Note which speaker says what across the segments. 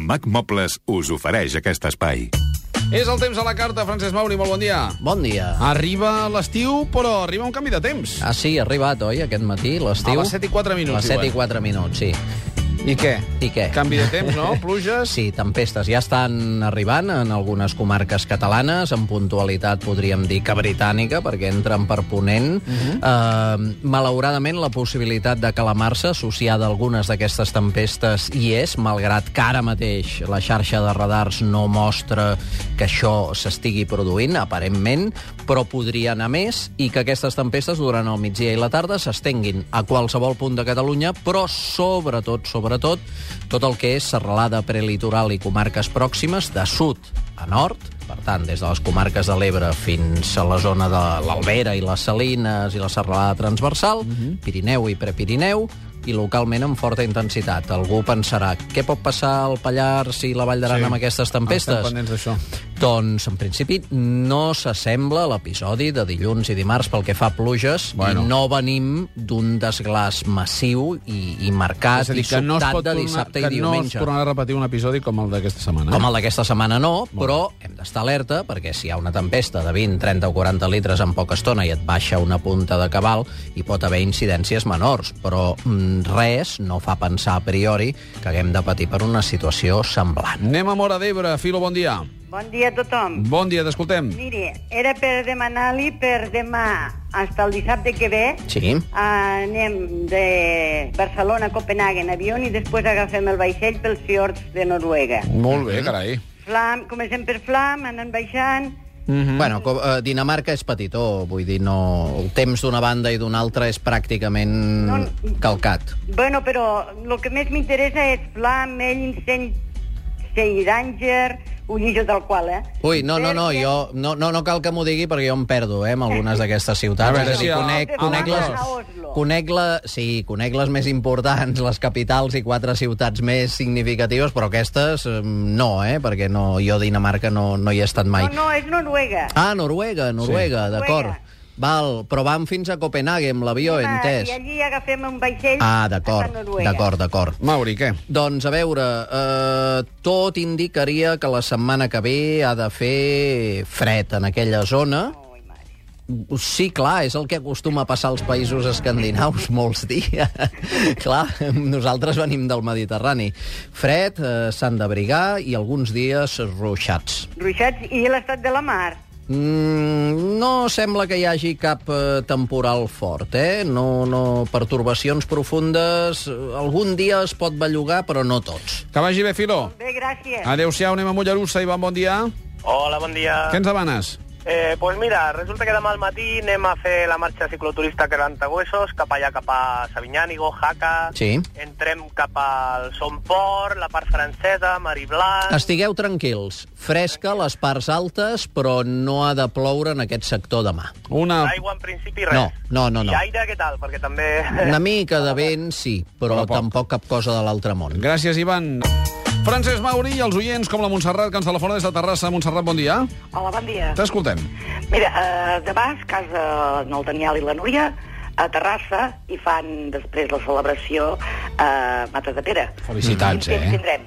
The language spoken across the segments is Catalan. Speaker 1: Mac Mobles us ofereix aquest espai.
Speaker 2: És el temps a la carta, Francesc Mauri, molt bon dia.
Speaker 3: Bon dia. Ah.
Speaker 2: Arriba l'estiu, però arriba un canvi de temps.
Speaker 3: sí, ha arribat, oi, aquest matí, Ah, l'estiu?
Speaker 2: A les 7 i quatre minuts,
Speaker 3: A les 7 i
Speaker 2: diuen.
Speaker 3: 4 minuts, sí.
Speaker 2: I què?
Speaker 3: I què?
Speaker 2: Canvi de temps, no? Pluges?
Speaker 3: Sí, tempestes ja estan arribant en algunes comarques catalanes, amb puntualitat podríem dir que britànica, perquè entren per ponent. Uh
Speaker 2: Mhm.
Speaker 3: -huh. uh, malauradament, la possibilitat de calamar-se associada a algunes d'aquestes tempestes hi és, malgrat que ara mateix la xarxa de radars no mostra que això s'estigui produint, aparentment, però podria anar més i que aquestes tempestes durant el migdia i la tarda s'estenguin a qualsevol punt de Catalunya, però sobretot, sobretot, tot el que és serralada prelitoral i comarques pròximes de sud a nord, per tant, des de les comarques de l'Ebre fins a la zona de l'Albera i les Salines i la serralada transversal,
Speaker 2: Mhm.
Speaker 3: Pirineu i Prepirineu, i localment amb forta intensitat. Algú pensarà, què pot passar al Pallars i la Vall d'Aran
Speaker 2: Sí.
Speaker 3: sí. amb aquestes
Speaker 2: Estem
Speaker 3: tempestes?
Speaker 2: pendents d'això.
Speaker 3: Doncs, en principi, no s'assembla a l'episodi de dilluns i dimarts pel que fa a pluges.
Speaker 2: Bueno.
Speaker 3: Bueno. No venim d'un desglàs massiu i, i marcat
Speaker 2: És a dir,
Speaker 3: i
Speaker 2: que
Speaker 3: sobtat
Speaker 2: no es pot
Speaker 3: Ah, de
Speaker 2: tornar,
Speaker 3: dissabte
Speaker 2: que
Speaker 3: i
Speaker 2: no es
Speaker 3: diumenge.
Speaker 2: tornarà a repetir un episodi com el d'aquesta setmana. eh?
Speaker 3: Com el d'aquesta setmana no, però hem d'estar alerta perquè si hi ha una tempesta de 20, 30 o 40 litres en poca estona i et baixa una punta de cabal, hi pot haver incidències menors, però mm, res no fa pensar a priori que haguem de patir per una situació semblant.
Speaker 2: Anem a Mora d'Ebre. Filo, bon dia.
Speaker 4: Bon dia a tothom.
Speaker 2: Bon dia, t'escoltem.
Speaker 4: Miri, era per demanar-li per demà, fins al dissabte que ve,
Speaker 3: Sí?
Speaker 4: anem de Barcelona a Copenhague en avió i després agafem el vaixell pels fiords de Noruega.
Speaker 2: Molt bé, carai.
Speaker 4: Flam, comencem per Flam, anant baixant,
Speaker 3: Mm
Speaker 2: Mhm.
Speaker 3: -hmm. Bueno, com, eh, Dinamarca és petitó, vull dir, no... El temps d'una banda i d'una altra és pràcticament
Speaker 4: No,
Speaker 3: no,
Speaker 4: no.
Speaker 3: calcat.
Speaker 4: Bueno, però el que més m'interessa és Flam, Mellin, Saint, Saint Danger, un lliçó del qual, eh?
Speaker 3: Ui, no, no, no, jo, no, no, no cal que m'ho digui perquè jo em perdo, eh, amb algunes d'aquestes ciutats.
Speaker 2: A veure,
Speaker 3: És a dir,
Speaker 2: sí, a-
Speaker 3: conec,
Speaker 2: a
Speaker 3: conec,
Speaker 4: Oslo.
Speaker 3: les, conec, la, sí, conec les més importants, les capitals i quatre ciutats més significatives, però aquestes eh, no, eh, perquè no, jo a Dinamarca no, no hi he estat mai.
Speaker 4: No, no, és Noruega.
Speaker 3: Ah, Noruega, Noruega,
Speaker 4: Sí.
Speaker 3: d'acord.
Speaker 4: Noruega.
Speaker 3: Val, però vam fins a Copenhague amb l'avió,
Speaker 4: I
Speaker 3: entès.
Speaker 4: allí agafem un vaixell
Speaker 3: Ah,
Speaker 4: cap
Speaker 3: d'acord,
Speaker 4: a Noruega.
Speaker 3: d'acord, d'acord.
Speaker 2: Mauri, què?
Speaker 3: Doncs a veure, eh, tot indicaria que la setmana que ve ha de fer fred en aquella zona.
Speaker 4: Ui, mare.
Speaker 3: Sí, clar, és el que acostuma a passar als països escandinaus molts dies. clar, nosaltres venim del Mediterrani. Fred, eh, s'han d'abrigar i alguns dies ruixats.
Speaker 4: Ruixats i l'estat de la mar.
Speaker 3: Mm, no sembla que hi hagi cap eh, temporal fort, eh? No, no, pertorbacions profundes. eh, Algun dia es pot bellugar, però no tots.
Speaker 2: Que vagi bé, Ah. Filo.
Speaker 4: Bé, gràcies.
Speaker 3: Ah.
Speaker 2: Adéu-siau, anem a Mollerussa. Ivan, bon dia.
Speaker 5: Hola, bon dia.
Speaker 2: Què ens demanes?
Speaker 5: Eh, pues mira, resulta que demà al matí anem a fer la marxa cicloturista que Huesos, cap allà cap a Sabinyànigo, Jaca.
Speaker 3: Sí.
Speaker 5: Entrem cap al Somport, la part francesa, Mari Blanc...
Speaker 3: Estigueu tranquils. Fresca a les parts altes, però no ha de ploure en aquest sector demà.
Speaker 2: Una...
Speaker 5: Aigua en principi res.
Speaker 3: No, no, no, no.
Speaker 5: I aire què tal? Perquè també...
Speaker 3: Una mica de vent, sí, però
Speaker 2: Però poc.
Speaker 3: tampoc cap cosa de l'altre món.
Speaker 2: Gràcies, Ivan. Francesc Mauri i els oients, com la Montserrat, que ens telefona des de Terrassa. Montserrat, bon dia.
Speaker 6: Hola, bon dia.
Speaker 2: T'escoltem.
Speaker 6: Mira, eh, demà es casa en el Daniel i la Núria a Terrassa i fan després la celebració a Mata de Pere.
Speaker 2: Felicitats,
Speaker 6: Quin temps
Speaker 2: eh?
Speaker 6: Tindrem.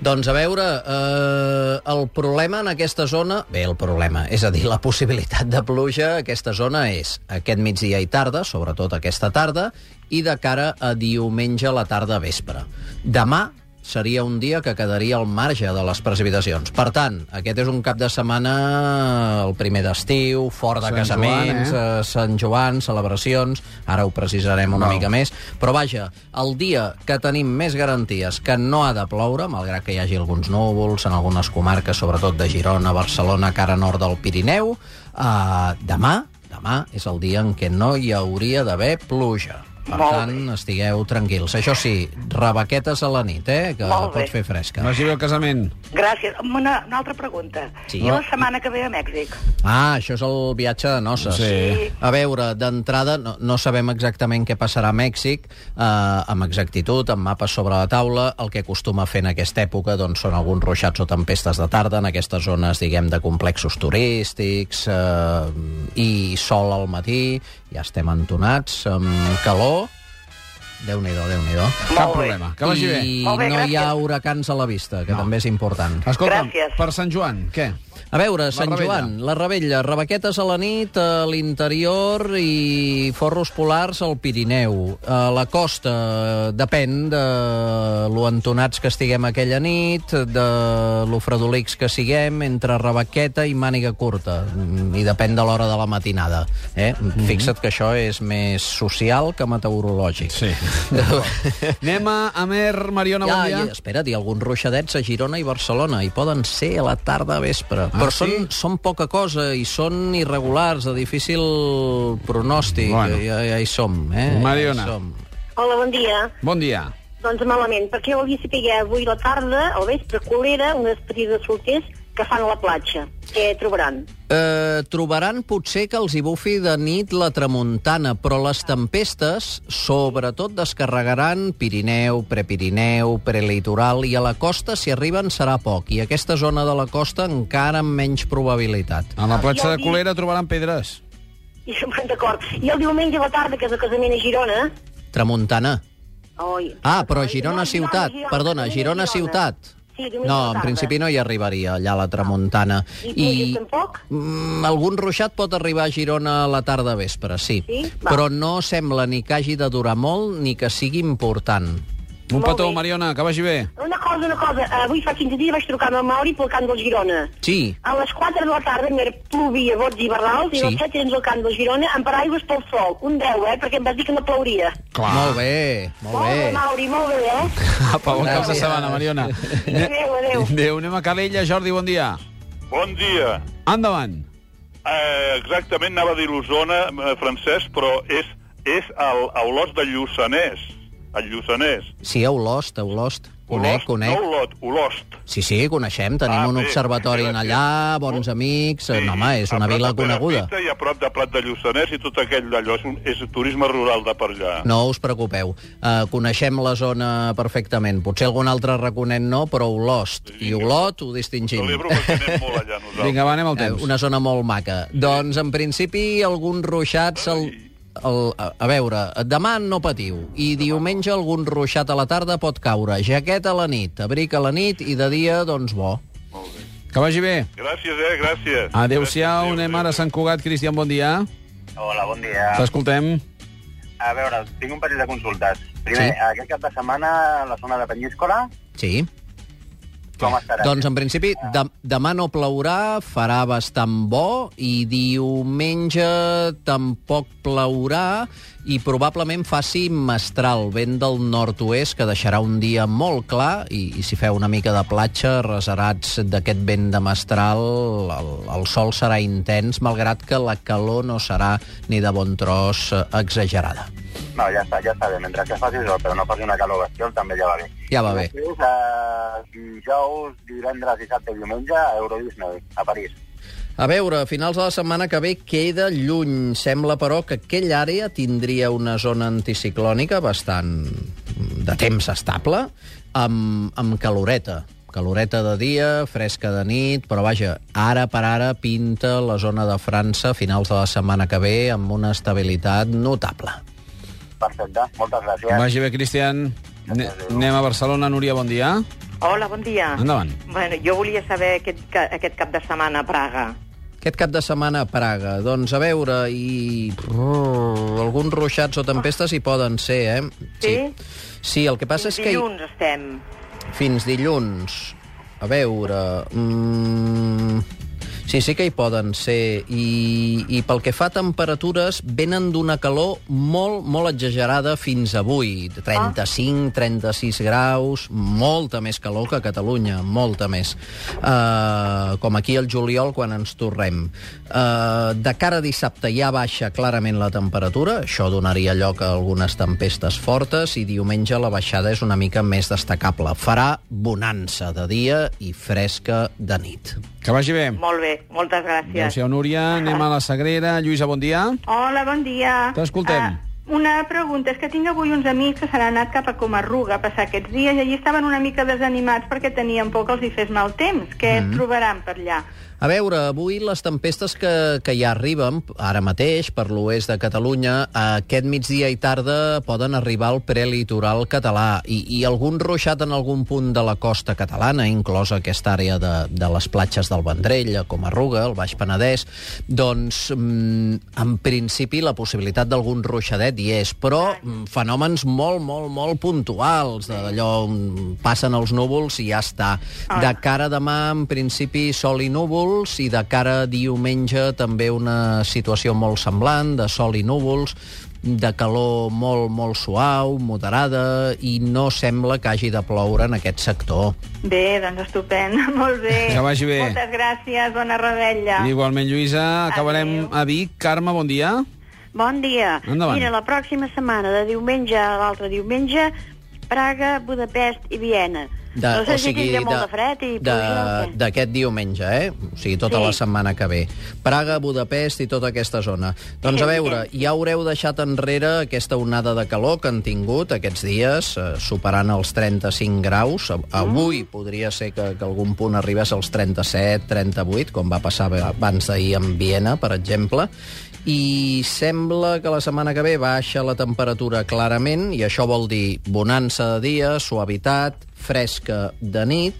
Speaker 3: Doncs a veure, eh, el problema en aquesta zona... Bé, el problema, és a dir, la possibilitat de pluja a aquesta zona és aquest migdia i tarda, sobretot aquesta tarda, i de cara a diumenge a la tarda a vespre. Demà seria un dia que quedaria al marge de les precipitacions. Per tant, aquest és un cap de setmana, el primer d'estiu, fora de
Speaker 2: Sant
Speaker 3: casaments,
Speaker 2: Joan, eh?
Speaker 3: eh, Sant Joan, celebracions, ara ho precisarem una
Speaker 2: Val.
Speaker 3: mica més, però vaja, el dia que tenim més garanties que no ha de ploure, malgrat que hi hagi alguns núvols en algunes comarques, sobretot de Girona, Barcelona, cara nord del Pirineu, eh, demà, demà és el dia en què no hi hauria d'haver pluja. Per
Speaker 6: Molt
Speaker 3: tant, estigueu tranquils. Això sí, rebaquetes a la nit, eh, que
Speaker 6: Molt bé.
Speaker 3: pot fer fresca.
Speaker 2: Vagi bé el casament.
Speaker 6: Gràcies. Una, una altra pregunta.
Speaker 3: Sí.
Speaker 6: I la setmana que ve a Mèxic?
Speaker 3: Ah, això és el viatge de noces.
Speaker 2: Sí.
Speaker 3: A veure, d'entrada, no, no sabem exactament què passarà a Mèxic, eh, amb exactitud, amb mapes sobre la taula. El que acostuma a fer en aquesta època doncs, són alguns ruixats o tempestes de tarda en aquestes zones, diguem, de complexos turístics eh, i sol al matí. Ja estem entonats, amb calor Déu-n'hi-do, Déu-n'hi-do.
Speaker 2: Cap
Speaker 6: bé.
Speaker 2: problema. Que vagi bé.
Speaker 3: I
Speaker 6: Molt bé,
Speaker 3: no hi ha
Speaker 6: gràcies.
Speaker 3: huracans a la vista, que també és important.
Speaker 2: Escolta'm,
Speaker 6: Gràcies.
Speaker 2: per Sant Joan, què?
Speaker 3: A veure, Sant
Speaker 2: Rebella.
Speaker 3: Joan, la Rebella, rebequetes a la nit, a l'interior i forros polars al Pirineu. A la costa, eh, depèn de lo entonats que estiguem aquella nit, de lo fredolics que siguem, entre rebequeta i màniga curta. Mm, I depèn de l'hora de la matinada. Eh? Fixa't que això és més social que meteorològic.
Speaker 2: Anem a Amer, Mariona, bon
Speaker 3: Ja,
Speaker 2: dia.
Speaker 3: i, espera't, hi ha alguns ruixadets a Girona i Barcelona, i poden ser a la tarda a vespre. Ah, però
Speaker 2: sí?
Speaker 3: són, són poca cosa, i són irregulars, de difícil pronòstic.
Speaker 2: Bueno.
Speaker 3: Bueno. Ja, ja hi som, eh?
Speaker 2: Mariona.
Speaker 3: Ja hi som.
Speaker 7: Hola, bon dia.
Speaker 2: Bon dia.
Speaker 7: Doncs malament, perquè jo volia saber avui a la tarda, al vespre, colera, unes petites solters que fan a la platja. Què trobaran?
Speaker 3: Eh, trobaran potser que els hi bufi de nit la tramuntana, però les tempestes sobretot descarregaran Pirineu, Prepirineu, Prelitoral i a la costa si arriben serà poc i aquesta zona de la costa encara amb menys probabilitat.
Speaker 2: A la platja de Colera trobaran pedres.
Speaker 7: I, D'acord. I el diumenge a la tarda, que és el casament a Girona...
Speaker 3: Tramuntana.
Speaker 7: Oi.
Speaker 3: Ah, però Girona
Speaker 7: No,
Speaker 3: ciutat. Perdona, Girona ciutat.
Speaker 7: Sí, diumenge a
Speaker 3: No,
Speaker 7: la
Speaker 3: en
Speaker 7: tarda.
Speaker 3: principi no hi arribaria allà a la tramuntana.
Speaker 7: I pluges tampoc?
Speaker 3: Mm, algun ruixat pot arribar a Girona a la tarda vespre, sí.
Speaker 7: Sí? Va.
Speaker 3: Però no sembla ni que hagi de durar molt ni que sigui important.
Speaker 2: Un
Speaker 7: Molt
Speaker 2: petó,
Speaker 7: bé.
Speaker 2: Mariona, que vagi bé.
Speaker 7: Una cosa, una cosa. Avui fa 15 dies vaig trucar amb el Mauri pel camp del Girona.
Speaker 3: Sí,
Speaker 7: A les 4 de la tarda m'era plovia, bots i barrals, i
Speaker 3: Sí.
Speaker 7: a les 7 tens el camp del Girona amb paraigües pel sol. Un 10, eh? Perquè em vas dir que no plouria.
Speaker 2: Clar.
Speaker 3: molt bé, molt
Speaker 7: Molt bé,
Speaker 3: bé.
Speaker 7: Mauri, molt bé, eh?
Speaker 2: Apa, bon cap de
Speaker 3: Gràcies.
Speaker 2: setmana, Mariona.
Speaker 7: Adéu, adéu.
Speaker 2: Adéu, anem a Calella. Jordi, bon dia.
Speaker 8: Bon dia.
Speaker 2: Endavant.
Speaker 8: Eh, exactament anava a dir l'Osona, eh, Francesc, però és, és el, a Olot de Lluçanès. El Lluçanès.
Speaker 3: Sí, a Olost, a Olost. Conec,
Speaker 8: Olost,
Speaker 3: conec.
Speaker 8: No Olot, Olost.
Speaker 3: Sí, sí, coneixem, tenim
Speaker 8: Ah,
Speaker 3: un
Speaker 8: bé,
Speaker 3: observatori en
Speaker 8: gràcies.
Speaker 3: allà, bons amics... No, home, és
Speaker 8: a
Speaker 3: una
Speaker 8: prop
Speaker 3: vila
Speaker 8: de
Speaker 3: coneguda.
Speaker 8: Perafita I a prop de Prat de Lluçanès i tot aquell d'allò. És, un, és turisme rural de per allà.
Speaker 3: No us preocupeu, uh, coneixem la zona perfectament. Potser algun altre raconet no, però Olost. I Olot ho distingim.
Speaker 8: Celebro que anem molt allà nosaltres.
Speaker 2: Vinga, va, anem al
Speaker 3: Eh,
Speaker 2: temps.
Speaker 3: una zona molt maca. Doncs, en principi, alguns ruixats... El, el, a a veure, demà no patiu i diumenge algun ruixat a la tarda pot caure. Jaqueta a la nit, abric a la nit i de dia, doncs bo.
Speaker 2: Que vagi bé.
Speaker 8: Gràcies, eh, gràcies.
Speaker 2: Adéu-siau,
Speaker 8: Gràcies,
Speaker 2: anem
Speaker 8: adéu, Ah.
Speaker 2: ara a Sant Cugat. Cristian, bon dia.
Speaker 5: Hola, bon dia.
Speaker 2: T'escoltem.
Speaker 5: A veure, tinc un parell de consultes.
Speaker 3: Primer, Sí.
Speaker 5: aquest cap de setmana, la zona de Penyíscola,
Speaker 3: Sí.
Speaker 5: com estarà?
Speaker 3: Doncs, en principi, de, demà no plourà, farà bastant bo, i diumenge tampoc plourà, i probablement faci mestral, vent del nord-oest, que deixarà un dia molt clar, i, i si feu una mica de platja, resarats d'aquest vent de mestral, el, el sol serà intens, malgrat que la calor no serà ni de bon tros eh, exagerada.
Speaker 5: No, ja està, ja està bé. Mentre que faci sol, però no faci una calor bestial, també ja va bé.
Speaker 3: Ja va bé.
Speaker 5: I després, eh, dijous, divendres, dissabte i diumenge, a Euro Disney, a París.
Speaker 3: A veure, a finals de la setmana que ve queda lluny. Sembla, però, que aquella àrea tindria una zona anticiclònica bastant de temps estable, amb, amb caloreta. Caloreta de dia, fresca de nit, però vaja, ara per ara pinta la zona de França a finals de la setmana que ve amb una estabilitat notable.
Speaker 5: Perfecte, moltes gràcies.
Speaker 2: Que vagi bé, Cristian. Ne- Anem a Barcelona. Núria, bon dia.
Speaker 6: Hola, bon dia.
Speaker 2: Endavant.
Speaker 6: Bueno, jo volia saber aquest, ca- aquest cap de setmana a Praga.
Speaker 3: Aquest cap de setmana a Praga, doncs a veure, i... Brrr, alguns ruixats o tempestes hi poden ser, eh?
Speaker 6: Sí?
Speaker 3: Sí, el que passa és que... hi-
Speaker 6: Dilluns estem.
Speaker 3: Fins dilluns. A veure... Mm... Sí, sí que hi poden ser. I, I pel que fa a temperatures, venen d'una calor molt, molt exagerada fins avui. 35, 36 graus, molta més calor que a Catalunya, molta més. Uh, com aquí al juliol, quan ens tornem. Uh, de cara a dissabte ja baixa clarament la temperatura, això donaria lloc a algunes tempestes fortes, i diumenge la baixada és una mica més destacable. Farà bonança de dia i fresca de nit.
Speaker 2: Que vagi bé.
Speaker 6: Molt bé, moltes gràcies.
Speaker 2: Adéu-siau, Núria. Anem a la Sagrera. Lluïsa, bon dia.
Speaker 7: Hola, bon dia.
Speaker 2: T'escoltem.
Speaker 7: Ah,
Speaker 9: Una pregunta, és que tinc avui uns amics que se n'han anat cap a Comarruga a passar aquests dies i allí estaven una mica desanimats perquè tenien por que els hi fes mal temps. Què mm. trobaran per allà?
Speaker 3: A veure, avui les tempestes que, que ja arriben ara mateix per l'oest de Catalunya, aquest migdia i tarda poden arribar al prelitoral català i, i algun ruixat en algun punt de la costa catalana, inclosa aquesta àrea de, de les platges del Vendrell, com a Ruga, el Baix Penedès, doncs mm, en principi la possibilitat d'algun ruixadet hi és, eh, però mm, fenòmens molt, molt, molt puntuals, de- d'allò on passen els núvols i ja està. De cara a demà, en principi, sol i núvols, núvols i de cara a diumenge també una situació molt semblant, de sol i núvols, de calor molt, molt suau, moderada, i no sembla que hagi de ploure en aquest sector.
Speaker 9: Bé, doncs estupend, molt bé.
Speaker 2: Que vagi bé.
Speaker 9: Moltes gràcies, bona rebella.
Speaker 2: Igualment, Lluïsa, acabarem a Vic. Carme, bon dia.
Speaker 7: Bon dia.
Speaker 2: Endavant.
Speaker 7: Mira, la pròxima setmana, de diumenge a l'altre diumenge, Praga, Budapest i Viena. no sé si tindré molt de fred i...
Speaker 3: de-
Speaker 7: pluja o què.
Speaker 3: d'aquest diumenge, eh? O sigui, tota
Speaker 7: Sí.
Speaker 3: la setmana que ve. Praga, Budapest i tota aquesta zona. Doncs a veure, ja haureu deixat enrere aquesta onada de calor que han tingut aquests dies, eh, superant els 35 graus. A- Avui podria ser que, que algun punt arribés als 37, 38, com va passar abans d'ahir en Viena, per exemple i sembla que la setmana que ve baixa la temperatura clarament i això vol dir bonança de dia, suavitat, fresca de nit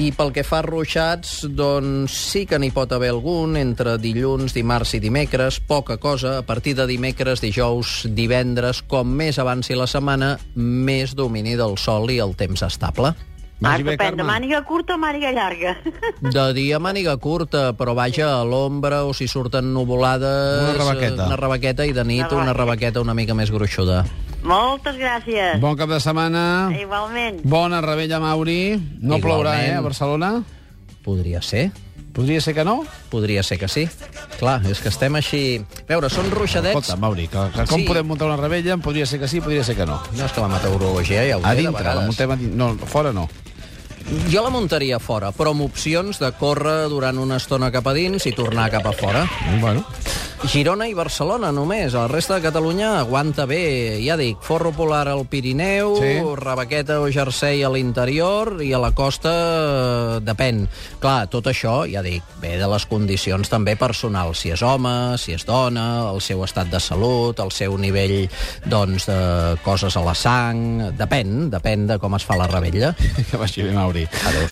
Speaker 3: i pel que fa a ruixats, doncs sí que n'hi pot haver algun entre dilluns, dimarts i dimecres, poca cosa. A partir de dimecres, dijous, divendres, com més avanci la setmana, més domini del sol i el temps estable.
Speaker 7: Ah, estupendo. Màniga curta o màniga llarga?
Speaker 3: De dia màniga curta, però vaja, a l'ombra o si surten nuvolades...
Speaker 2: Una rebaqueta.
Speaker 3: eh, Una rebaqueta i de nit una rebaqueta una mica més gruixuda.
Speaker 7: Moltes gràcies.
Speaker 2: Bon cap de setmana.
Speaker 7: Igualment.
Speaker 2: Bona rebella, Mauri. No
Speaker 3: Igualment.
Speaker 2: plourà, eh, a Barcelona?
Speaker 3: Podria ser,
Speaker 2: Podria ser que no?
Speaker 3: podria ser que sí. Clar, és que estem així... A veure, són ruixadets...
Speaker 2: Escolta, Mauri, que, que com
Speaker 3: Sí.
Speaker 2: podem muntar una rebella? Podria ser que sí, podria ser que no.
Speaker 3: No és que la meteorologia ja ho
Speaker 2: A
Speaker 3: té, de
Speaker 2: dintre, la
Speaker 3: vegades.
Speaker 2: muntem a dintre. No, fora no.
Speaker 3: Jo la muntaria fora, però amb opcions de córrer durant una estona cap a dins i tornar cap a fora.
Speaker 2: Bueno.
Speaker 3: Girona i Barcelona només, la resta de Catalunya aguanta bé, ja dic, forro polar al Pirineu,
Speaker 2: Sí.
Speaker 3: sí. rebaqueta o jersei a l'interior i a la costa eh, depèn. Clar, tot això, ja dic, ve de les condicions també personals, si és home, si és dona, el seu estat de salut, el seu nivell doncs, de coses a la sang, depèn, depèn de com es fa la rebella.
Speaker 2: Que vagi bé, Mauri. Adéu.